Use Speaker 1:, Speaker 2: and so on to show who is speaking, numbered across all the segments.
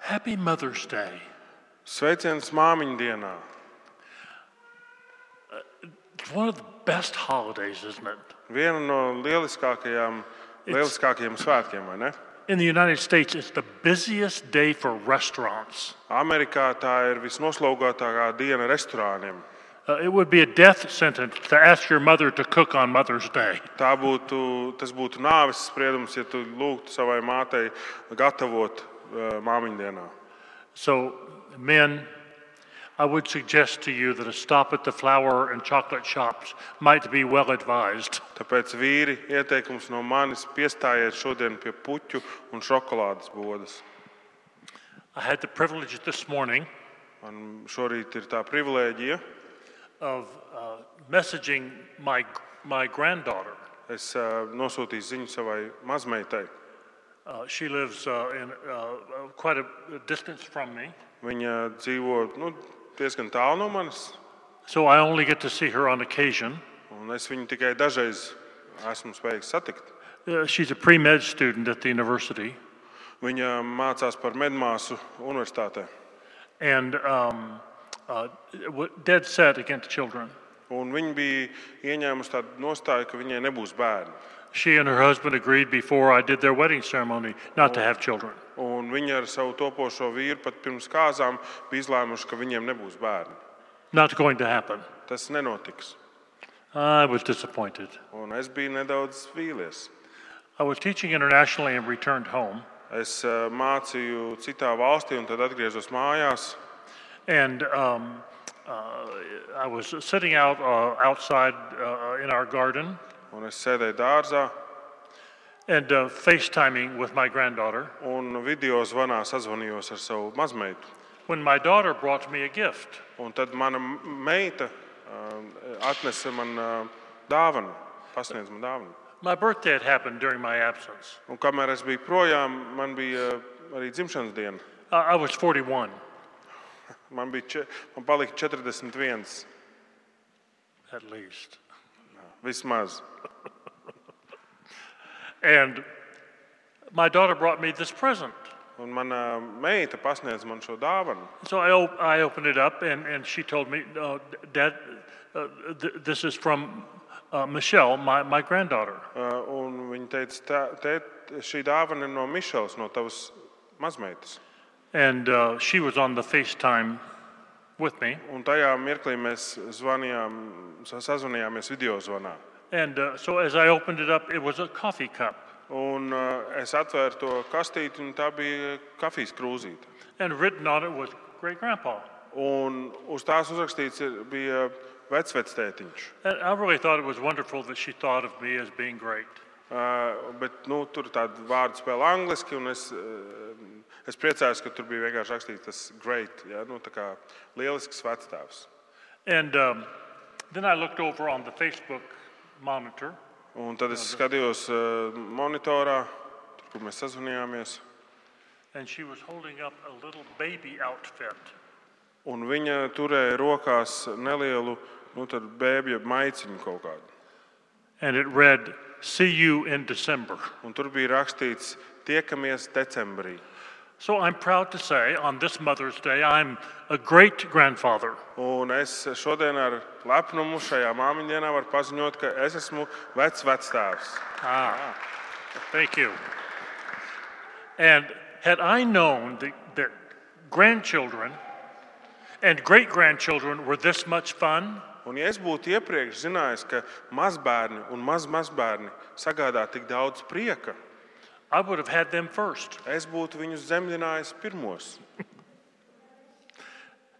Speaker 1: Happy Mother's Day.
Speaker 2: Sveiciens māmiņu dienā.
Speaker 1: It's one of the best holidays, isn't it?
Speaker 2: Viena no lieliskākajām, lieliskākajiem svētkiem, vai ne?
Speaker 1: In the United States, it's the busiest day for restaurants.
Speaker 2: Amerikā tā ir visnoslogātākā diena restorāniem.
Speaker 1: Uh, it would be a death sentence to ask your mother to cook on Mother's Day.
Speaker 2: Tā būtu, tas būtu nāves spriedums, ja tu lūgtu savai mātei gatavot eh, māmiņu dienā.
Speaker 1: So, men, I would suggest to you that a stop at the flower and chocolate shops might be well advised.
Speaker 2: Tāpēc vīri ieteikums no manis piestājiet šodien pie puķu un šokolādes bodas.
Speaker 1: I had the privilege this morning
Speaker 2: Man šorīt ir tā privilēģija.
Speaker 1: of uh, messaging my, my granddaughter.
Speaker 2: Es eh, nosūtīju ziņu savai mazmeitai.
Speaker 1: Uh, she lives uh, in uh, uh, quite a distance from me,
Speaker 2: Viņa dzīvo nu, diezgan tālu no manis,
Speaker 1: so I only get to see her on occasion.
Speaker 2: un es viņu tikai dažreiz esmu spējīgs satikt.
Speaker 1: Uh, she's a pre med student at the university,
Speaker 2: Viņa mācās par medmāsu universitātē
Speaker 1: and um, uh, w- dead set against children.
Speaker 2: Un viņa bija ieņēmusi tādu nostāju, ka viņai nebūs bērni.
Speaker 1: She and her husband agreed before I did their wedding ceremony not to have children.
Speaker 2: Un viņa ar savu topošo vīru pat pirms kāzām bija izlēmuši, ka viņiem nebūs bērni.
Speaker 1: Not going to happen.
Speaker 2: Tas nenotiks.
Speaker 1: I was disappointed.
Speaker 2: Un es biju nedaudz vīlies.
Speaker 1: I was teaching internationally and returned home,
Speaker 2: Es eh, mācīju citā valstī un tad atgriezos mājās.
Speaker 1: and um, uh, I was sitting out uh, outside uh, in our garden
Speaker 2: Un es sēdēju dārzā
Speaker 1: and uh, FaceTiming with my granddaughter
Speaker 2: un video zvanā sazvanījos ar savu mazmeitu.
Speaker 1: when my daughter brought me a gift.
Speaker 2: Un tad mana m- meita eh, atnesa man eh, dāvanu, pasniedz man dāvanu.
Speaker 1: My birthday had happened during my absence.
Speaker 2: Un kamēr es biju projām, man bija eh, arī dzimšanas diena.
Speaker 1: I I was 41.
Speaker 2: Man bija če- man palika 41,
Speaker 1: at least.
Speaker 2: vismaz.
Speaker 1: And my daughter brought me this present.
Speaker 2: Un mana meita pasniedz man šo dāvanu.
Speaker 1: So I, op- I opened it up, and, and she told me, uh, Dad, uh, th- this is from uh, Michelle, my, my granddaughter.
Speaker 2: Eh, Un viņa teica, "Tā- tēt, šī dāvana ir no Mišelas, no tavas mazmeitas.
Speaker 1: And uh, she was on the FaceTime with me.
Speaker 2: Un tajā mirklī mēs zvanījām, sa- sazvanījāmies video zvanā.
Speaker 1: And uh, so as I opened it up, it was a coffee cup.
Speaker 2: Un eh, es atvēru to kastīti, un tā bija kafijas krūzīte.
Speaker 1: And written on it was Great Grandpa.
Speaker 2: Un uz tās uzrakstīts ir- bija vecvectētiņš.
Speaker 1: And I really thought it was wonderful that she thought of me as being great.
Speaker 2: Uh, bet nu, tur ir tāda vārdu spēle angliski, un es, uh, es priecājos, ka tur bija vienkārši rakstīts tas great, ja? nu, tā kā lielisks vecstāvs.
Speaker 1: And um, then I looked over on the Facebook monitor.
Speaker 2: Un tad es skatījos uh, monitorā, tur, kur mēs sazvanījāmies,
Speaker 1: and she was holding up a little baby outfit.
Speaker 2: un viņa turēja rokās nelielu nu, tad bēbja maiciņu kaut kādu.
Speaker 1: And it read, See you in December.
Speaker 2: Un tur bija rakstīts, tiekamies decembrī.
Speaker 1: So I'm proud to say on this Mother's Day, I'm a great grandfather.
Speaker 2: Un es šodien ar lepnumu šajā māmiņdienā varu paziņot, ka es esmu vecs vecstāvs.
Speaker 1: Ah, thank you. And had I known that, that grandchildren and great grandchildren were this much fun,
Speaker 2: Un, ja es būtu iepriekš zinājis, ka mazbērni un mazmazbērni sagādā tik daudz prieka,
Speaker 1: I would have had them first.
Speaker 2: es būtu viņus zemdinājis pirmos.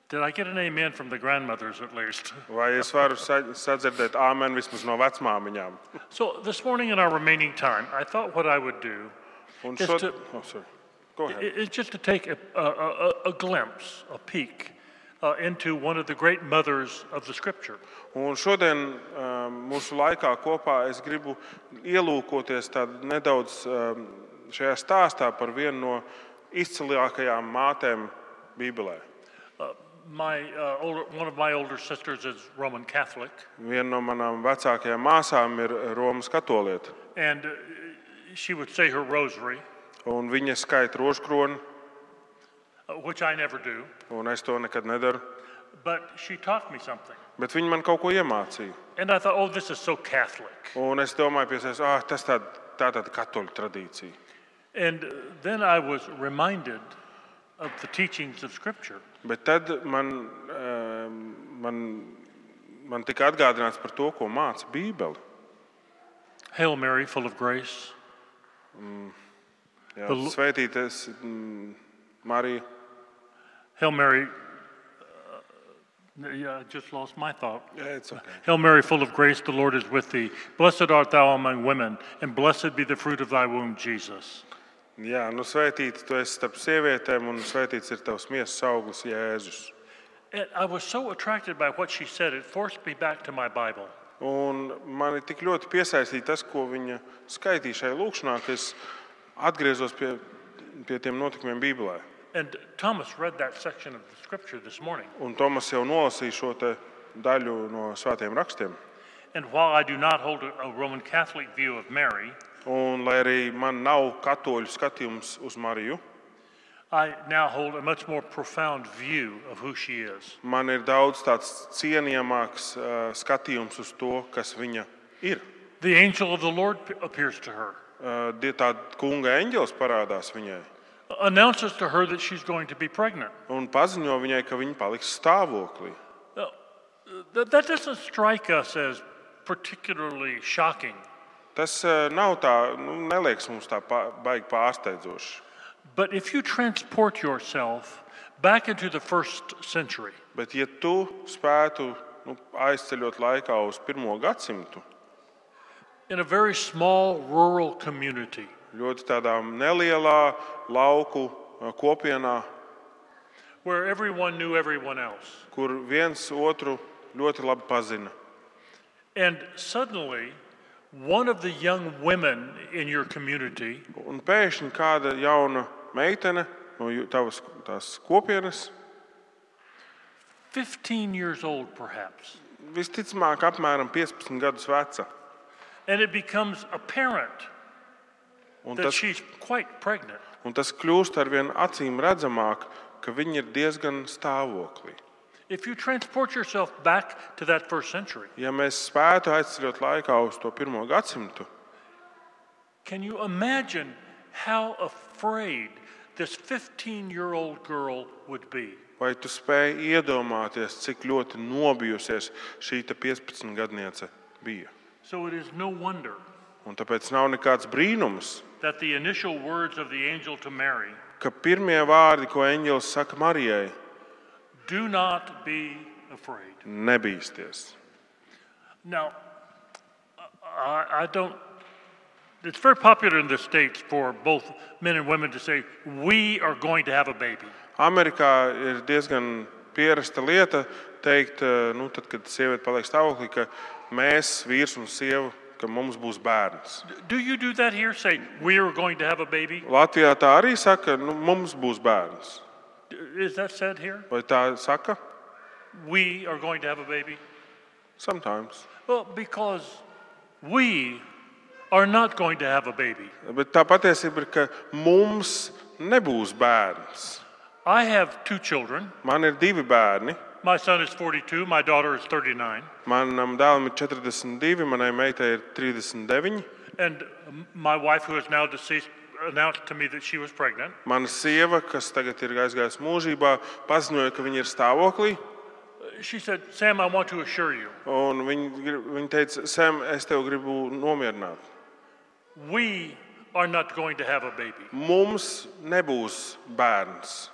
Speaker 1: Did I get an amen from the grandmothers at least?
Speaker 2: Vai es varu sa- sadzirdēt āmeni vismaz no vecmāmiņām?
Speaker 1: So this morning in our remaining time, I thought what I would do
Speaker 2: Un
Speaker 1: Es
Speaker 2: šod...
Speaker 1: tu-
Speaker 2: oh, sorry. Go ahead.
Speaker 1: It- It's just to take a, a, a, a glimpse, a peek uh, into one of the great mothers of the scripture.
Speaker 2: Un šodien um, mūsu laikā kopā es gribu ielūkoties tādu nedaudz um, šajā stāstā par vienu no izcilākajām mātēm Bībelē.
Speaker 1: My, uh, older, one of my older sisters is Roman Catholic,
Speaker 2: Viena no manām vecākajām māsām ir Romas katolieta.
Speaker 1: and uh, she would say her rosary.
Speaker 2: Un viņa skaita rožkroni.
Speaker 1: uh, which I never do,
Speaker 2: un es to nekad nedaru.
Speaker 1: but she taught me something.
Speaker 2: Bet viņi man kaut ko iemācīja.
Speaker 1: And I thought, oh, this is so Catholic.
Speaker 2: Un es domāju, pie sevis, ah, tas tā, tā tāda katoļu tradīcija.
Speaker 1: And uh, then I was reminded of the teachings of Scripture.
Speaker 2: Bet tad man, eh, man, man tika atgādināts par to, ko māca Bībele.
Speaker 1: Hail Mary, full of grace,
Speaker 2: Jā,
Speaker 1: Tu lu-
Speaker 2: Svētīties, mm, Marija.
Speaker 1: Hail Mary, uh, yeah, I just lost my thought.
Speaker 2: Jā, it's okay.
Speaker 1: Hail Mary, full of grace, the Lord is with thee. Blessed art thou among women, and blessed be the fruit of thy womb, Jesus.
Speaker 2: Jā, nu svētīts, tu esi starp sievietēm, un svētīts ir tavs miesas augurs, Jēzus.
Speaker 1: And I was so attracted by what she said, it forced me back to my Bible.
Speaker 2: Un mani tik ļoti piesaistīja tas, ko viņa skaitīja šai lūkšanā, ka es atgriezos pie, pie tiem notikumiem Bībelē.
Speaker 1: And Thomas read that section of the scripture this morning.
Speaker 2: Un Tomas jau nolasīja šo te daļu no svētiem rakstiem.
Speaker 1: And while I do not hold a, a Roman Catholic view of Mary,
Speaker 2: Un, lai arī man nav katoļu skatījums uz Mariju,
Speaker 1: I now hold a much more profound view of who she is.
Speaker 2: man ir daudz tāds cienījamāks uh, skatījums uz to, kas viņa ir.
Speaker 1: The angel of the Lord p- appears to her,
Speaker 2: Uh, die- tā kunga eņģelis parādās viņai
Speaker 1: announces to her that she's going to be pregnant.
Speaker 2: un paziņo viņai, ka viņa paliks stāvoklī.
Speaker 1: Now, that, that doesn't strike us as particularly shocking,
Speaker 2: Tas uh, nav tā, nu, neliekas mums tā pa, baigi pārsteidzoši.
Speaker 1: but if you transport yourself back into the first century,
Speaker 2: Bet, ja tu spētu nu, aizceļot laikā uz pirmo gadsimtu,
Speaker 1: in a very small rural community,
Speaker 2: ļoti tādā nelielā lauku eh, kopienā,
Speaker 1: where everyone knew everyone else,
Speaker 2: kur viens otru ļoti labi pazina,
Speaker 1: and suddenly one of the young women in your community
Speaker 2: un pēkšņi kāda jauna meitene no ju- tavas tās kopienas,
Speaker 1: 15 years old perhaps.
Speaker 2: visticamāk, apmēram 15 gadus veca,
Speaker 1: And it becomes apparent
Speaker 2: un
Speaker 1: that
Speaker 2: tas,
Speaker 1: she's quite pregnant.
Speaker 2: un tas kļūst ar vien acīm redzamāk, ka viņi ir diezgan stāvoklī.
Speaker 1: If you transport yourself back to that first century,
Speaker 2: Ja mēs spētu aizceļot laikā uz to pirmo gadsimtu,
Speaker 1: can you imagine how afraid this 15 year old girl would be?
Speaker 2: vai tu spēj iedomāties, cik ļoti nobijusies šī te 15 gadniece bija?
Speaker 1: So it is no wonder
Speaker 2: Un tāpēc nav nekāds brīnums,
Speaker 1: that the initial words of the angel to Mary
Speaker 2: ka pirmie vārdi, ko eņģelis saka Marijai,
Speaker 1: do not be afraid.
Speaker 2: nebīsties.
Speaker 1: Now, I, I don't. It's very popular in the States for both men and women to say, We are going to have a baby.
Speaker 2: Amerikā ir diezgan pierasta lieta teikt, eh, nu, tad, kad sieviete paliek stāvoklī, ka mēs, vīrs un sieva, ka mums būs bērns.
Speaker 1: Do you do that here? Say, We are going to have a baby?
Speaker 2: Latvijā tā arī saka, nu, mums būs bērns.
Speaker 1: Is that said here?
Speaker 2: Vai tā saka?
Speaker 1: We are going to have a baby?
Speaker 2: Sometimes.
Speaker 1: Well, because we are not going to have a baby.
Speaker 2: Bet tā patiesība ir, ka mums nebūs bērns.
Speaker 1: I have two children.
Speaker 2: Man ir divi bērni.
Speaker 1: My son is 42, my daughter is 39.
Speaker 2: Manam dēlam ir 42, manai meitai ir 39.
Speaker 1: And um, my wife, who is now deceased, announced to me that she was pregnant.
Speaker 2: Mana sieva, kas tagad ir aizgājusi mūžībā, paziņoja, ka viņa ir stāvoklī.
Speaker 1: She said, Sam, I want to assure you,
Speaker 2: Un Viņa, grib- viņa teica, Sam, es tevi gribu nomierināt.
Speaker 1: we are not going to have a baby.
Speaker 2: Mums nebūs bērns.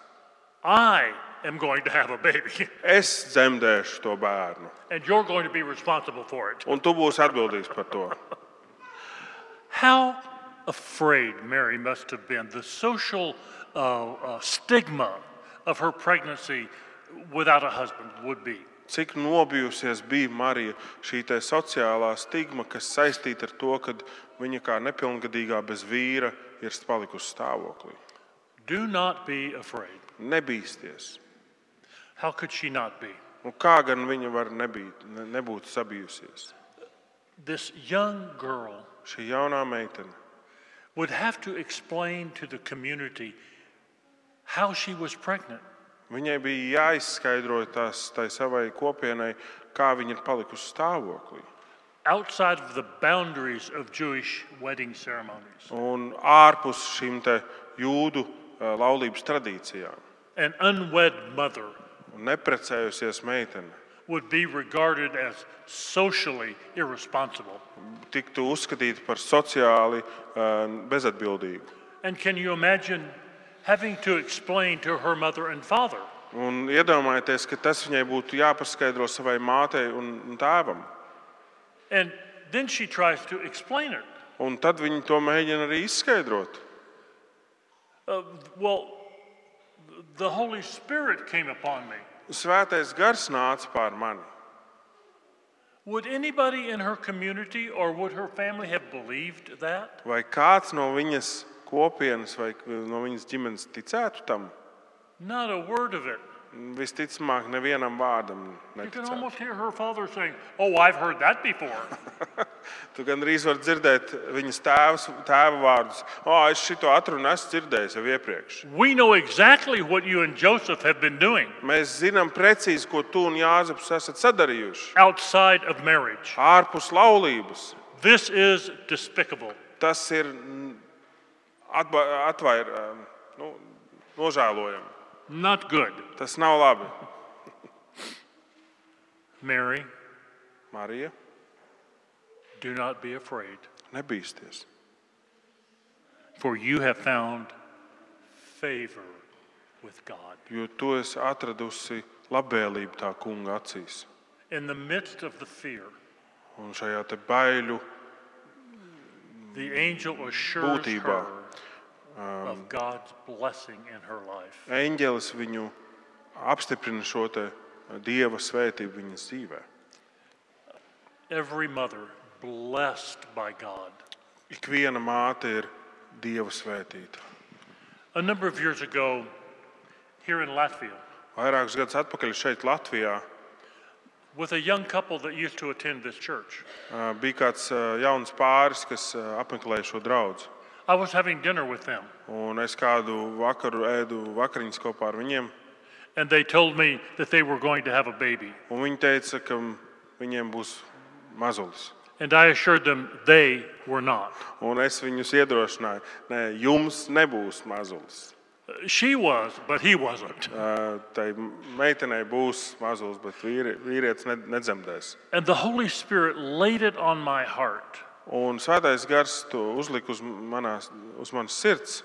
Speaker 1: I am going to have a baby,
Speaker 2: Es dzemdēšu to bērnu,
Speaker 1: and you're going to be responsible for it.
Speaker 2: un tu būsi atbildīgs par to.
Speaker 1: How afraid Mary must have been. The social uh, uh, stigma of her pregnancy without a husband would be.
Speaker 2: Cik nobijusies bija Marija šī te sociālā stigma, kas saistīta ar to, ka viņa kā nepilngadīgā bez vīra ir palikusi stāvoklī.
Speaker 1: Do not be afraid.
Speaker 2: Nebīsties.
Speaker 1: How could she not be?
Speaker 2: Un kā gan viņa var nebīt, ne, nebūt sabijusies?
Speaker 1: This young girl
Speaker 2: Šī jaunā meitene
Speaker 1: would have to explain to the community how she was pregnant.
Speaker 2: Viņai bija jāizskaidro tas tai savai kopienai, kā viņa ir palikusi stāvoklī.
Speaker 1: outside of the boundaries of Jewish wedding ceremonies.
Speaker 2: Un ārpus šīm te jūdu eh, laulības tradīcijām,
Speaker 1: An unwed mother
Speaker 2: un neprecējusies meitene
Speaker 1: would be regarded as socially irresponsible.
Speaker 2: tiktu uzskatīta par sociāli eh, bezatbildīgu.
Speaker 1: And can you imagine having to explain to her mother and father
Speaker 2: Un iedomājieties, ka tas viņai būtu jāpaskaidro savai mātei un un tēvam.
Speaker 1: And then she tries to explain it.
Speaker 2: Un tad viņi to mēģina arī izskaidrot.
Speaker 1: Uh, well, the Holy Spirit came upon me.
Speaker 2: Svētais gars nāca pār mani.
Speaker 1: Would anybody in her community or would her family have believed that?
Speaker 2: Vai kāds no viņas kopienas vai eh, no viņas ģimenes ticētu tam?
Speaker 1: Not a word of it.
Speaker 2: Visticamāk, nevienam vārdam
Speaker 1: You can
Speaker 2: neticētu.
Speaker 1: almost hear her father saying, Oh, I've heard that before.
Speaker 2: Tu gandrīz vari dzirdēt viņas tēvs, tēva vārdus. O, es šo atrunu esmu dzirdējis jau iepriekš.
Speaker 1: We know exactly what you and Joseph have been doing
Speaker 2: Mēs zinām precīzi, ko tu un Jānis esat sadarījuši.
Speaker 1: outside of marriage.
Speaker 2: Ārpus laulības
Speaker 1: This is despicable.
Speaker 2: tas ir atba- atvair, um, nu, nožēlojami.
Speaker 1: Not good.
Speaker 2: Tas nav labi.
Speaker 1: Mary,
Speaker 2: Marija,
Speaker 1: do not be afraid,
Speaker 2: nebīsties,
Speaker 1: for you have found favor with God.
Speaker 2: jo tu esi atradusi labvēlību tā kunga acīs.
Speaker 1: In the midst of the fear,
Speaker 2: Un šajā te baiļu
Speaker 1: the angel assures
Speaker 2: Būtībā,
Speaker 1: her of God's blessing in her life.
Speaker 2: eņģelis viņu apstiprina šo te eh, dieva svētību viņas dzīvēm.
Speaker 1: Every mother blessed by God.
Speaker 2: Ikviena māte ir dieva svētīta.
Speaker 1: A number of years ago, here in Latvia,
Speaker 2: Vairākus gadus atpakaļ šeit, Latvijā,
Speaker 1: with a young couple that used to attend this church,
Speaker 2: ā, eh, bija kāds ā, jauns pāris, kas ā, apmeklēja šo draugu.
Speaker 1: I was having dinner with them,
Speaker 2: Un es kādu vakaru ēdu vakariņas kopā ar viņiem.
Speaker 1: and they told me that they were going to have a baby.
Speaker 2: un Viņi teica, ka viņiem būs mazulis.
Speaker 1: And I assured them they were not.
Speaker 2: Un es viņus iedrošināju, ka jums nebūs mazulis.
Speaker 1: She was, but he wasn't.
Speaker 2: Ā, Tai meitenei būs mazulis, bet vīri, vīrietis ne- nedzemdēs.
Speaker 1: And the Holy Spirit laid it on my heart
Speaker 2: Un svētais gars to uzlika uz, manās, uz manas sirds.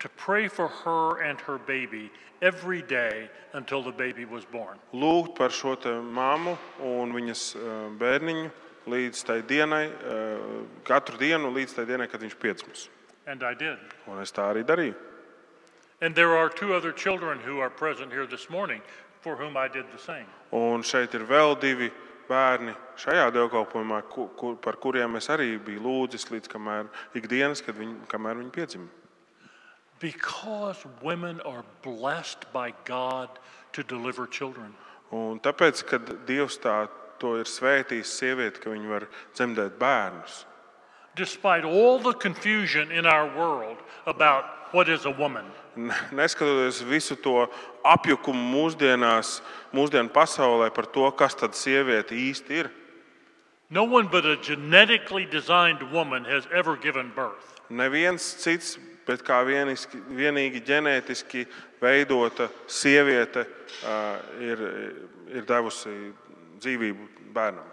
Speaker 1: to pray for her and her baby every day until the baby was born.
Speaker 2: lūgt par šo te māmu un viņas eh, bērniņu līdz tai dienai, eh, katru dienu līdz tai dienai, kad viņš piedzims.
Speaker 1: And I did.
Speaker 2: Un es tā arī darīju.
Speaker 1: And there are two other children who are present here this morning for whom I did the same.
Speaker 2: Un šeit ir vēl divi bērni šajā dievkalpojumā, ku- ku- par kuriem es arī biju lūdzis līdz kamēr, ikdienas, kad viņi, kamēr viņi piedzima.
Speaker 1: Because women are blessed by God to deliver children.
Speaker 2: Un tāpēc, kad Dievs tā to ir svētījis sievieti, ka viņi var dzemdēt bērnus.
Speaker 1: Despite all the confusion in our world about what is a woman,
Speaker 2: N- Neskatoties visu to apjukumu mūsdienās, mūsdienu pasaulē par to, kas tad sieviete īsti ir,
Speaker 1: no one but a genetically designed woman has ever given birth.
Speaker 2: neviens cits, bet kā vieniski, vienīgi ģenētiski veidota sieviete ā, ir, ir devusi dzīvību bērnam.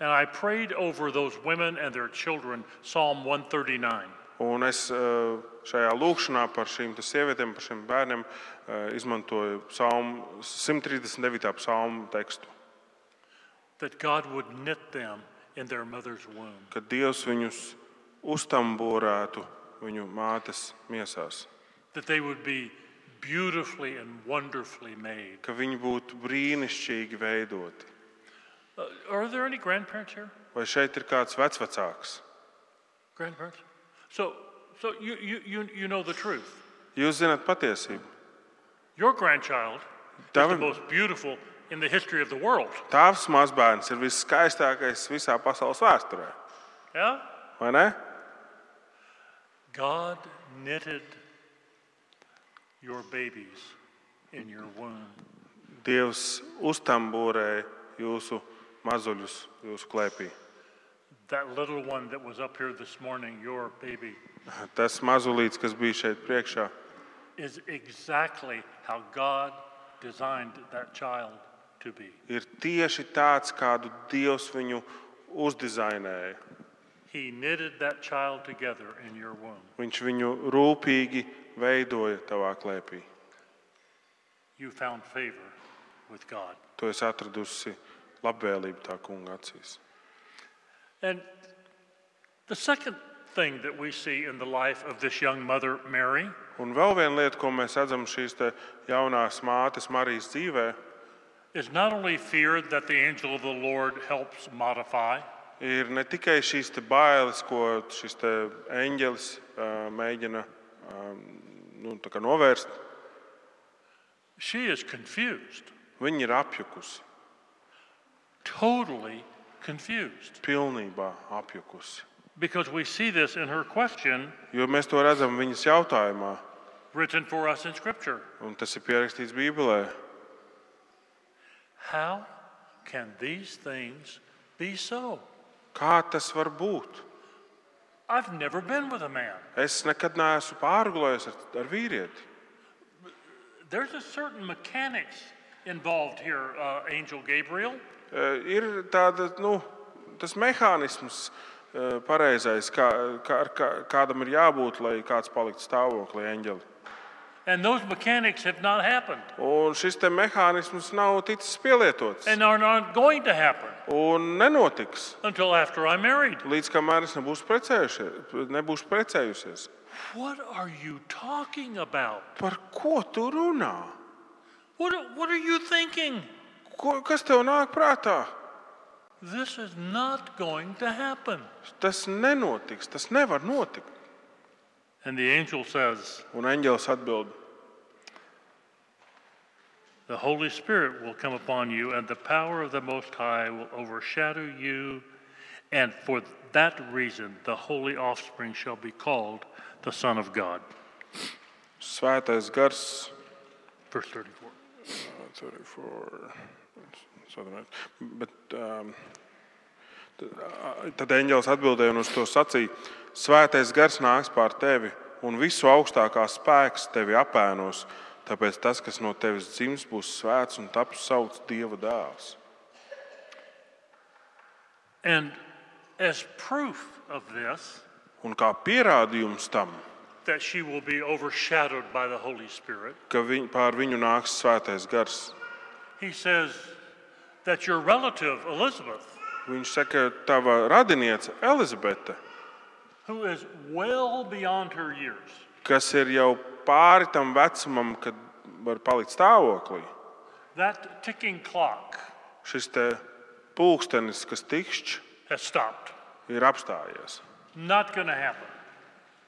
Speaker 1: And I prayed over those women and their children, Psalm 139.
Speaker 2: Un es ā, šajā lūkšanā par šīm te sievietēm, par šiem bērniem ā, izmantoju psalmu, 139. psalmu tekstu,
Speaker 1: That God would knit them in their mother's womb.
Speaker 2: kad Dievs viņus uztamborētu viņu mātes miesās.
Speaker 1: That they would be beautifully and wonderfully made.
Speaker 2: ka viņi būtu brīnišķīgi veidoti.
Speaker 1: Uh, are there any grandparents here?
Speaker 2: Vai šeit ir kāds vecāks?
Speaker 1: Grandparents? So, so you, you, you, you know the truth.
Speaker 2: Jūs zināt patiesību.
Speaker 1: Your grandchild is the
Speaker 2: Tava-
Speaker 1: most beautiful in the history of the world.
Speaker 2: Tēvs mazbērns ir viskaistākais visā pasaules vēsturē.
Speaker 1: Yeah?
Speaker 2: Vai ne?
Speaker 1: God knitted your babies in your womb.
Speaker 2: Dievs uztambūrēja jūsu mazuļus, jūsu klēpī.
Speaker 1: That little one that was up here this morning, your baby,
Speaker 2: Tas mazulīts, kas bija šeit priekšā,
Speaker 1: is exactly how God designed that child to be.
Speaker 2: ir tieši tāds, kādu Dievs viņu uzdizainēja.
Speaker 1: He knitted that child together in your womb.
Speaker 2: Viņš viņu rūpīgi veidoja tavā klēpī.
Speaker 1: You found favor with God.
Speaker 2: To es atradusi labvēlību tā kunga acīs.
Speaker 1: And the second thing that we see in the life of this young mother, Mary,
Speaker 2: Un vēl viena lieta, ko mēs redzam šīs te jaunās mātes Marijas dzīvē,
Speaker 1: is not only fear that the angel of the Lord helps modify,
Speaker 2: ir ne tikai šīs te bailes, ko šis te eņģelis ā, mēģina ā, nu, tā kā novērst,
Speaker 1: she is confused,
Speaker 2: viņi ir apjukusi,
Speaker 1: totally confused.
Speaker 2: pilnībā apjukusi.
Speaker 1: Because we see this in her question
Speaker 2: Jo mēs to redzam viņas jautājumā,
Speaker 1: written for us in Scripture
Speaker 2: un tas ir pierakstīts Bībelē.
Speaker 1: How can these things be so?
Speaker 2: Kā tas var būt?
Speaker 1: I've never been with a man.
Speaker 2: Es nekad neesmu pārgulējis ar, ar vīrieti.
Speaker 1: There's a certain mechanics involved here, uh, Angel Gabriel.
Speaker 2: E, Ir tāda, nu, tas mehānisms, e, pareizais, kā, kā, ar kā, kādam ir jābūt, lai kāds paliktu stāvoklī, eņģeli.
Speaker 1: And those mechanics have not happened
Speaker 2: Un šis te mehānisms nav ticis pielietots
Speaker 1: and are not going to happen
Speaker 2: un nenotiks
Speaker 1: until after I'm married.
Speaker 2: līdz kamēr es nebūšu precējušie- nebūšu precējusies.
Speaker 1: What are you talking about?
Speaker 2: Par ko tu runā?
Speaker 1: What, what are you thinking?
Speaker 2: Ko, kas tev nāk prātā?
Speaker 1: This is not going to happen.
Speaker 2: Tas nenotiks, tas nevar notikt.
Speaker 1: And the angel says,
Speaker 2: Un eņģelis atbild:
Speaker 1: The Holy Spirit will come upon you, and the power of the Most High will overshadow you. And for that reason, the holy offspring shall be called the Son of God.
Speaker 2: Svētais gars
Speaker 1: Verse 34.
Speaker 2: 34. Es atvainojos. Bet, um, t- a- tad eņģēlis atbildēja un uz to sacīja: Svētais gars nāks pār tevi, un visu augstākā spēks tevi apēnos. Tāpēc tas, kas no tevis dzims, būs svēts un taps saucts Dieva dēls.
Speaker 1: And as proof of this,
Speaker 2: Un kā pierādījums tam,
Speaker 1: that she will be overshadowed by the Holy Spirit,
Speaker 2: ka viņ, pār viņu nāks svētais gars,
Speaker 1: he says that your relative, Elizabeth,
Speaker 2: viņš saka, ka tava radiniece Elizabete,
Speaker 1: who is well beyond her years,
Speaker 2: kas ir jau pāri tam vecumam, kad var palikt stāvoklī,
Speaker 1: that ticking clock
Speaker 2: šis te pulkstenis, kas tikšķ,
Speaker 1: has stopped.
Speaker 2: ir apstājies.
Speaker 1: Not going to happen.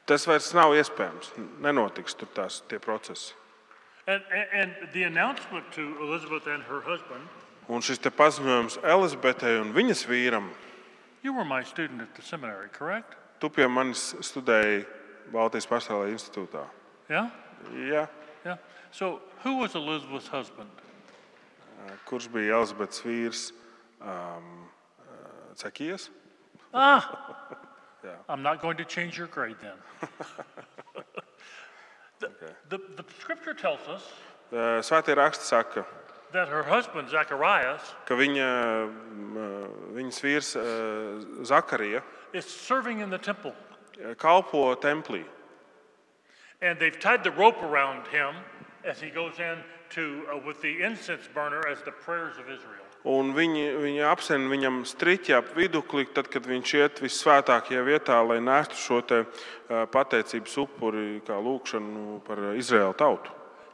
Speaker 2: Tas vairs nav iespējams. Nenotiks tur tās tie procesi.
Speaker 1: And, and, and the announcement to Elizabeth and her husband
Speaker 2: Un šis te paziņojums Elizabetei un viņas vīram,
Speaker 1: You were my student at the seminary, correct?
Speaker 2: tu pie manis studēji Baltijas Pasaulē institūtā.
Speaker 1: Yeah?
Speaker 2: Ja,
Speaker 1: Yeah. So, who was Elizabeth's husband?
Speaker 2: kurš bija Elizabetes vīrs? Um, Cekijas.
Speaker 1: Ah!
Speaker 2: Yeah.
Speaker 1: I'm not going to change your grade then. the, the, the scripture tells us
Speaker 2: Svētie raksti saka,
Speaker 1: that her husband, Zacharias,
Speaker 2: ka viņa, mm, viņas vīrs eh, Zakarija
Speaker 1: is serving in the temple.
Speaker 2: kalpo templī.
Speaker 1: And they've tied the rope around him as he goes in to, uh, with the incense burner as the prayers of Israel.
Speaker 2: Un viņi, viņi apsen viņam striķi ap vidukli, tad, kad viņš iet visvētākajā vietā, lai nestu šo te, eh, pateicības upuri, kā lūkšanu par Izraēlu tautu.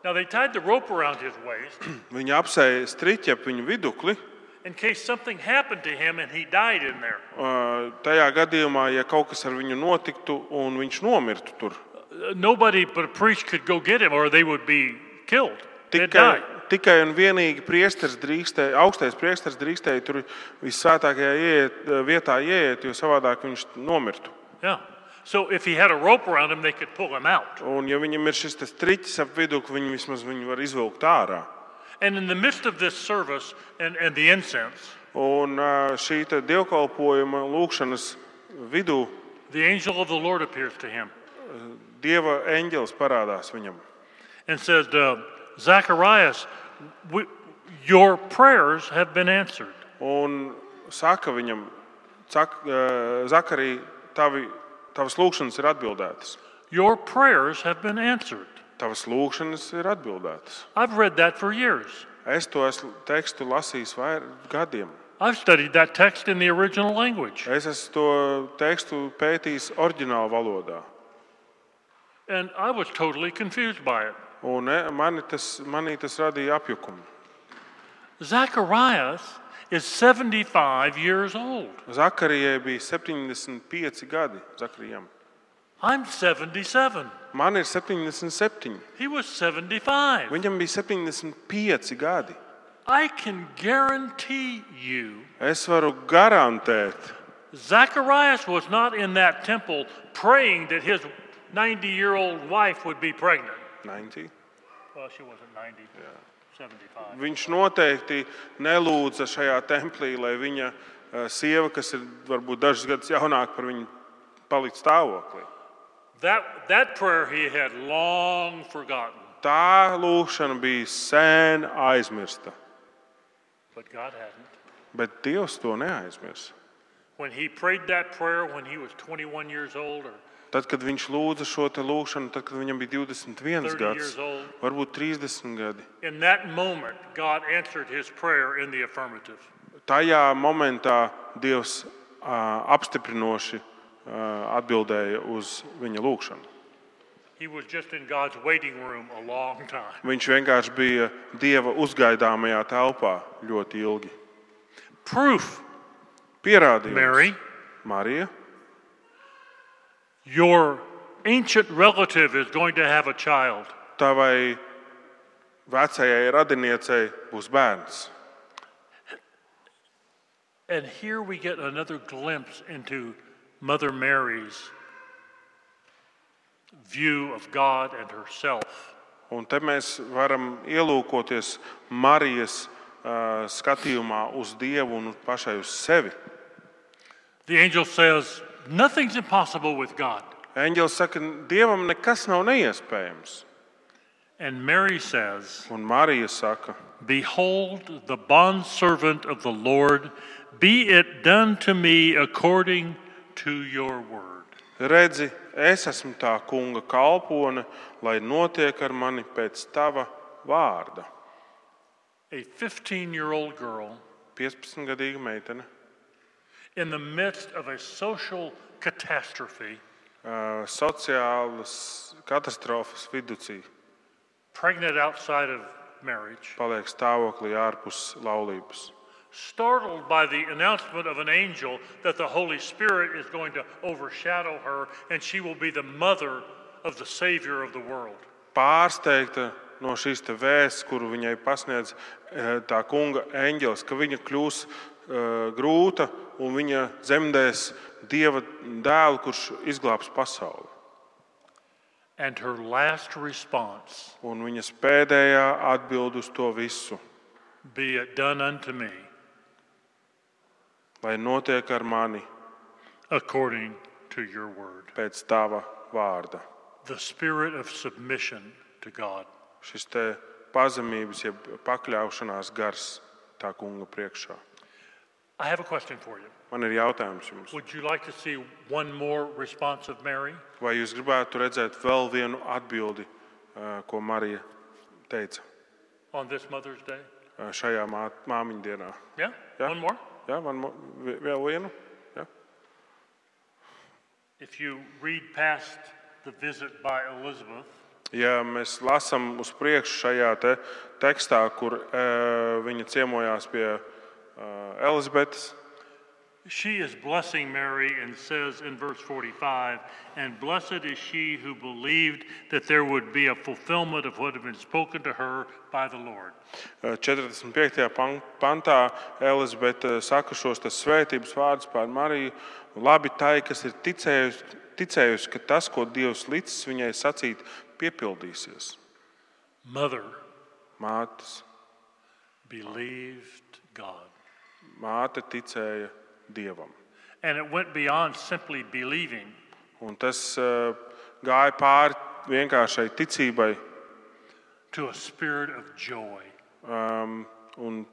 Speaker 1: Now, they tied the rope around his waist
Speaker 2: Viņi apsēja striķi ap viņu vidukli.
Speaker 1: in case something happened to him and he died in there.
Speaker 2: eh, Tajā gadījumā, ja kaut kas ar viņu notiktu un viņš nomirtu tur,
Speaker 1: Uh, Nobody but a priest could go get him, or they would be killed. They'd die.
Speaker 2: tikai, tikai un vienīgi priesteris drīkstēja, augstais priesteris drīkstēja tur visvētākajā ieiet, eh, vietā ieiet, jo savādāk viņš nomirtu.
Speaker 1: Yeah. So if he had a rope around him, they could pull him out.
Speaker 2: Un, ja viņam ir šis te striķis ap vidu, ka viņi vismaz viņu var izvilkt ārā.
Speaker 1: And in the midst of this service and, and the incense,
Speaker 2: Un ā, šī te dievkalpojuma lūkšanas vidū
Speaker 1: the angel of the Lord appears to him
Speaker 2: dieva eņģelis parādās viņam.
Speaker 1: and says, uh, Zacharias, we, your prayers have been answered.
Speaker 2: Un saka viņam, "Cak- ā, Zakarī, tavi, tavas lūkšanas ir atbildētas.
Speaker 1: Your prayers have been answered.
Speaker 2: Tavas lūkšanas ir atbildētas.
Speaker 1: I've read that for years.
Speaker 2: Es to esmu tekstu lasījis vairāk gadiem.
Speaker 1: I've studied that text in the original language.
Speaker 2: Es esmu to tekstu pētījis oriģinālā valodā.
Speaker 1: And I was totally confused by it.
Speaker 2: Un e, mani tas, manī tas radīja apjukumu.
Speaker 1: Zacharias is 75 years old.
Speaker 2: Zakarijai bija 75 gadi. Zakarijam.
Speaker 1: I'm 77.
Speaker 2: Man ir 77.
Speaker 1: He was 75.
Speaker 2: Viņam bija 75 gadi.
Speaker 1: I can guarantee you,
Speaker 2: Es varu garantēt,
Speaker 1: Zacharias was not in that temple praying that his 90 year old wife would be pregnant.
Speaker 2: 90.
Speaker 1: Well, she wasn't 90, 75.
Speaker 2: viņš noteikti nelūdza šajā templī, lai viņa eh, sieva, kas ir varbūt dažas gadus jaunāka par viņu, paliktu stāvoklī.
Speaker 1: That, that prayer he had long forgotten,
Speaker 2: Tā lūkšana bija sen aizmirsta,
Speaker 1: but God hadn't.
Speaker 2: bet Dievs to neaizmirsa.
Speaker 1: When he prayed that prayer when he was 21 years old or
Speaker 2: Tad, kad viņš lūdza šo te lūkšanu, tad, kad viņam bija 21
Speaker 1: 30
Speaker 2: gads,
Speaker 1: years old,
Speaker 2: varbūt 30 gadi,
Speaker 1: in that moment, God answered his prayer in the affirmative.
Speaker 2: tajā momentā Dievs eh, apstiprinoši eh, atbildēja uz viņa lūkšanu.
Speaker 1: He was just in God's waiting room a long time.
Speaker 2: Viņš vienkārši bija dieva uzgaidāmajā telpā ļoti ilgi.
Speaker 1: Proof,
Speaker 2: Pierādījums.
Speaker 1: Mary,
Speaker 2: Marija,
Speaker 1: your ancient relative is going to have a child.
Speaker 2: tavai vecajai radiniecei būs bērns.
Speaker 1: And here we get another glimpse into Mother Mary's view of God and herself.
Speaker 2: Un te mēs varam ielūkoties Marijas uh, skatījumā uz Dievu un pašai uz sevi.
Speaker 1: The angel says, Nothing's impossible with God.
Speaker 2: Eņģēlis saka, Dievam nekas nav neiespējams.
Speaker 1: And Mary says,
Speaker 2: Un Marija saka,
Speaker 1: Behold, the bondservant of the Lord, be it done to me according to your word.
Speaker 2: redzi, es esmu tā kunga kalpone, lai notiek ar mani pēc tava vārda.
Speaker 1: A 15 year old girl
Speaker 2: 15-gadīga meitene
Speaker 1: in the midst of a social catastrophe,
Speaker 2: ā, sociālas katastrofas vidū
Speaker 1: pregnant outside of marriage,
Speaker 2: paliek stāvoklī ārpus laulības.
Speaker 1: startled by the announcement of an angel that the Holy Spirit is going to overshadow her and she will be the mother of the Savior of the world.
Speaker 2: Pārsteigta no šīs te vēsts, kuru viņai pasniedz ā, tā kunga eņģelis, ka viņa kļūs ā, grūta un viņa dzemdēs dieva dēlu, kurš izglābs pasauli.
Speaker 1: And her last response,
Speaker 2: Un viņas pēdējā atbild uz to visu,
Speaker 1: be it done unto me
Speaker 2: lai notiek ar mani
Speaker 1: according to your word.
Speaker 2: pēc tava vārda.
Speaker 1: the spirit of submission to God.
Speaker 2: šis te pazemības, jeb pakļaušanās gars tā kunga priekšā.
Speaker 1: I have a question for you.
Speaker 2: Man ir jautājums jums,
Speaker 1: Would you like to see one more response of Mary?
Speaker 2: vai jūs gribētu redzēt vēl vienu atbildi, eh, ko Marija teica
Speaker 1: On this Mother's Day?
Speaker 2: eh, šajā mā- māmiņu dienā?
Speaker 1: Yeah?
Speaker 2: Yeah.
Speaker 1: One more?
Speaker 2: Jā, man mo- vi- vēl vienu. Jā.
Speaker 1: If you read past the visit by Elizabeth,
Speaker 2: Ja mēs lasām uz priekšu šajā te tekstā, kur eh, viņa ciemojās pie eh, Elizabetes,
Speaker 1: she is blessing Mary and says in verse 45, And blessed is she who believed that there would be a fulfillment of what had been spoken to her by the Lord.
Speaker 2: 45. pan- pantā eh, Elizabete saka šos te svētības vārdus pār Mariju. Labi tai, kas ir ticējusi, ticējusi, ka tas, ko Dievs licis viņai sacīt, piepildīsies.
Speaker 1: Mother
Speaker 2: Mātes,
Speaker 1: believed God.
Speaker 2: māte ticēja Dievam.
Speaker 1: And it went beyond simply believing,
Speaker 2: Un tas eh, gāja pāri vienkāršai ticībai
Speaker 1: to a spirit of joy.
Speaker 2: Um, un,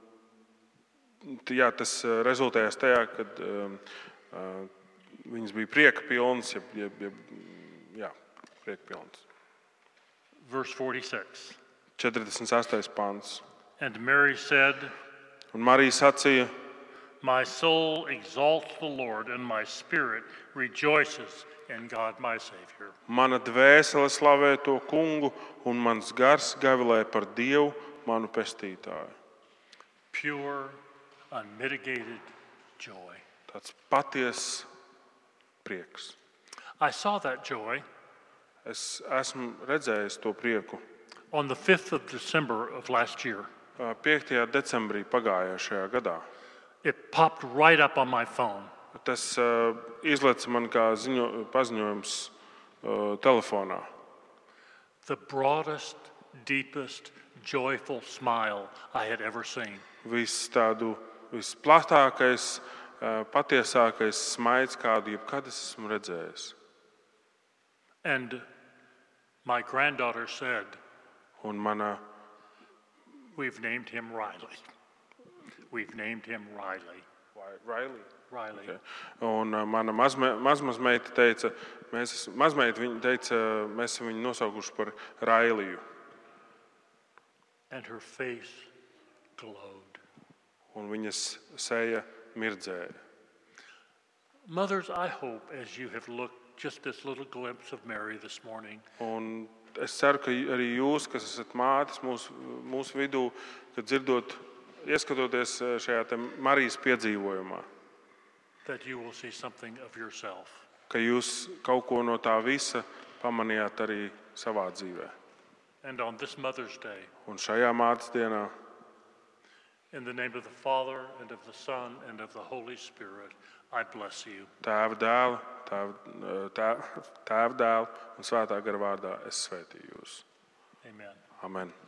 Speaker 2: t- jā, tas eh, rezultējās tajā, ka um, uh, viņas bija prieka pilnas. Jeb, jeb, jeb, jā, prieka pilnas.
Speaker 1: Verse 46.
Speaker 2: 48. pāns.
Speaker 1: And Mary said,
Speaker 2: Un Marija sacīja,
Speaker 1: My soul exalts the Lord, and my spirit rejoices in God my Savior.
Speaker 2: mana dvēsele slavē to kungu, un mans gars gavilē par Dievu, manu pestītāju.
Speaker 1: Pure, unmitigated joy.
Speaker 2: Tāds patiess prieks.
Speaker 1: I saw that joy
Speaker 2: Es esmu redzējis to prieku
Speaker 1: on the 5th of December of last year.
Speaker 2: eh, 5. decembrī pagājušajā gadā.
Speaker 1: It popped right up on my phone.
Speaker 2: Tas uh, izlaiž man kā ziņo, paziņojums uh, telefonā.
Speaker 1: The broadest, deepest, joyful smile I had ever seen.
Speaker 2: Viss tādu visplatākais, uh, patiesākais smaids, kādu jebkad es esmu redzējis.
Speaker 1: And my granddaughter said,
Speaker 2: Un mana
Speaker 1: We've named him Riley. We've named him Riley.
Speaker 2: Railija.
Speaker 1: Riley.
Speaker 2: Un uh, mana mazme- mazmazmeita teica, mēs, esam- mazmeita viņa teica, mēs esam viņu nosaukuši par Railiju.
Speaker 1: And her face glowed.
Speaker 2: Un viņas seja mirdzēja.
Speaker 1: Mothers, I hope as you have looked just this little glimpse of Mary this morning,
Speaker 2: Un es ceru, ka arī jūs, kas esat mātes mūsu, mūsu vidū, kad dzirdot, ieskatoties eh, šajā te Marijas piedzīvojumā,
Speaker 1: that you will see something of yourself.
Speaker 2: ka jūs kaut ko no tā visa pamanījāt arī savā dzīvē.
Speaker 1: And on this Mother's Day,
Speaker 2: Un šajā mātes dienā
Speaker 1: in the name of the Father, and of the Son, and of the Holy Spirit, I bless you.
Speaker 2: tēva dēla, tēva, eh, tēva, tēva dēla un svētā gara vārdā es svētīju jūs.
Speaker 1: Amen.
Speaker 2: Amen!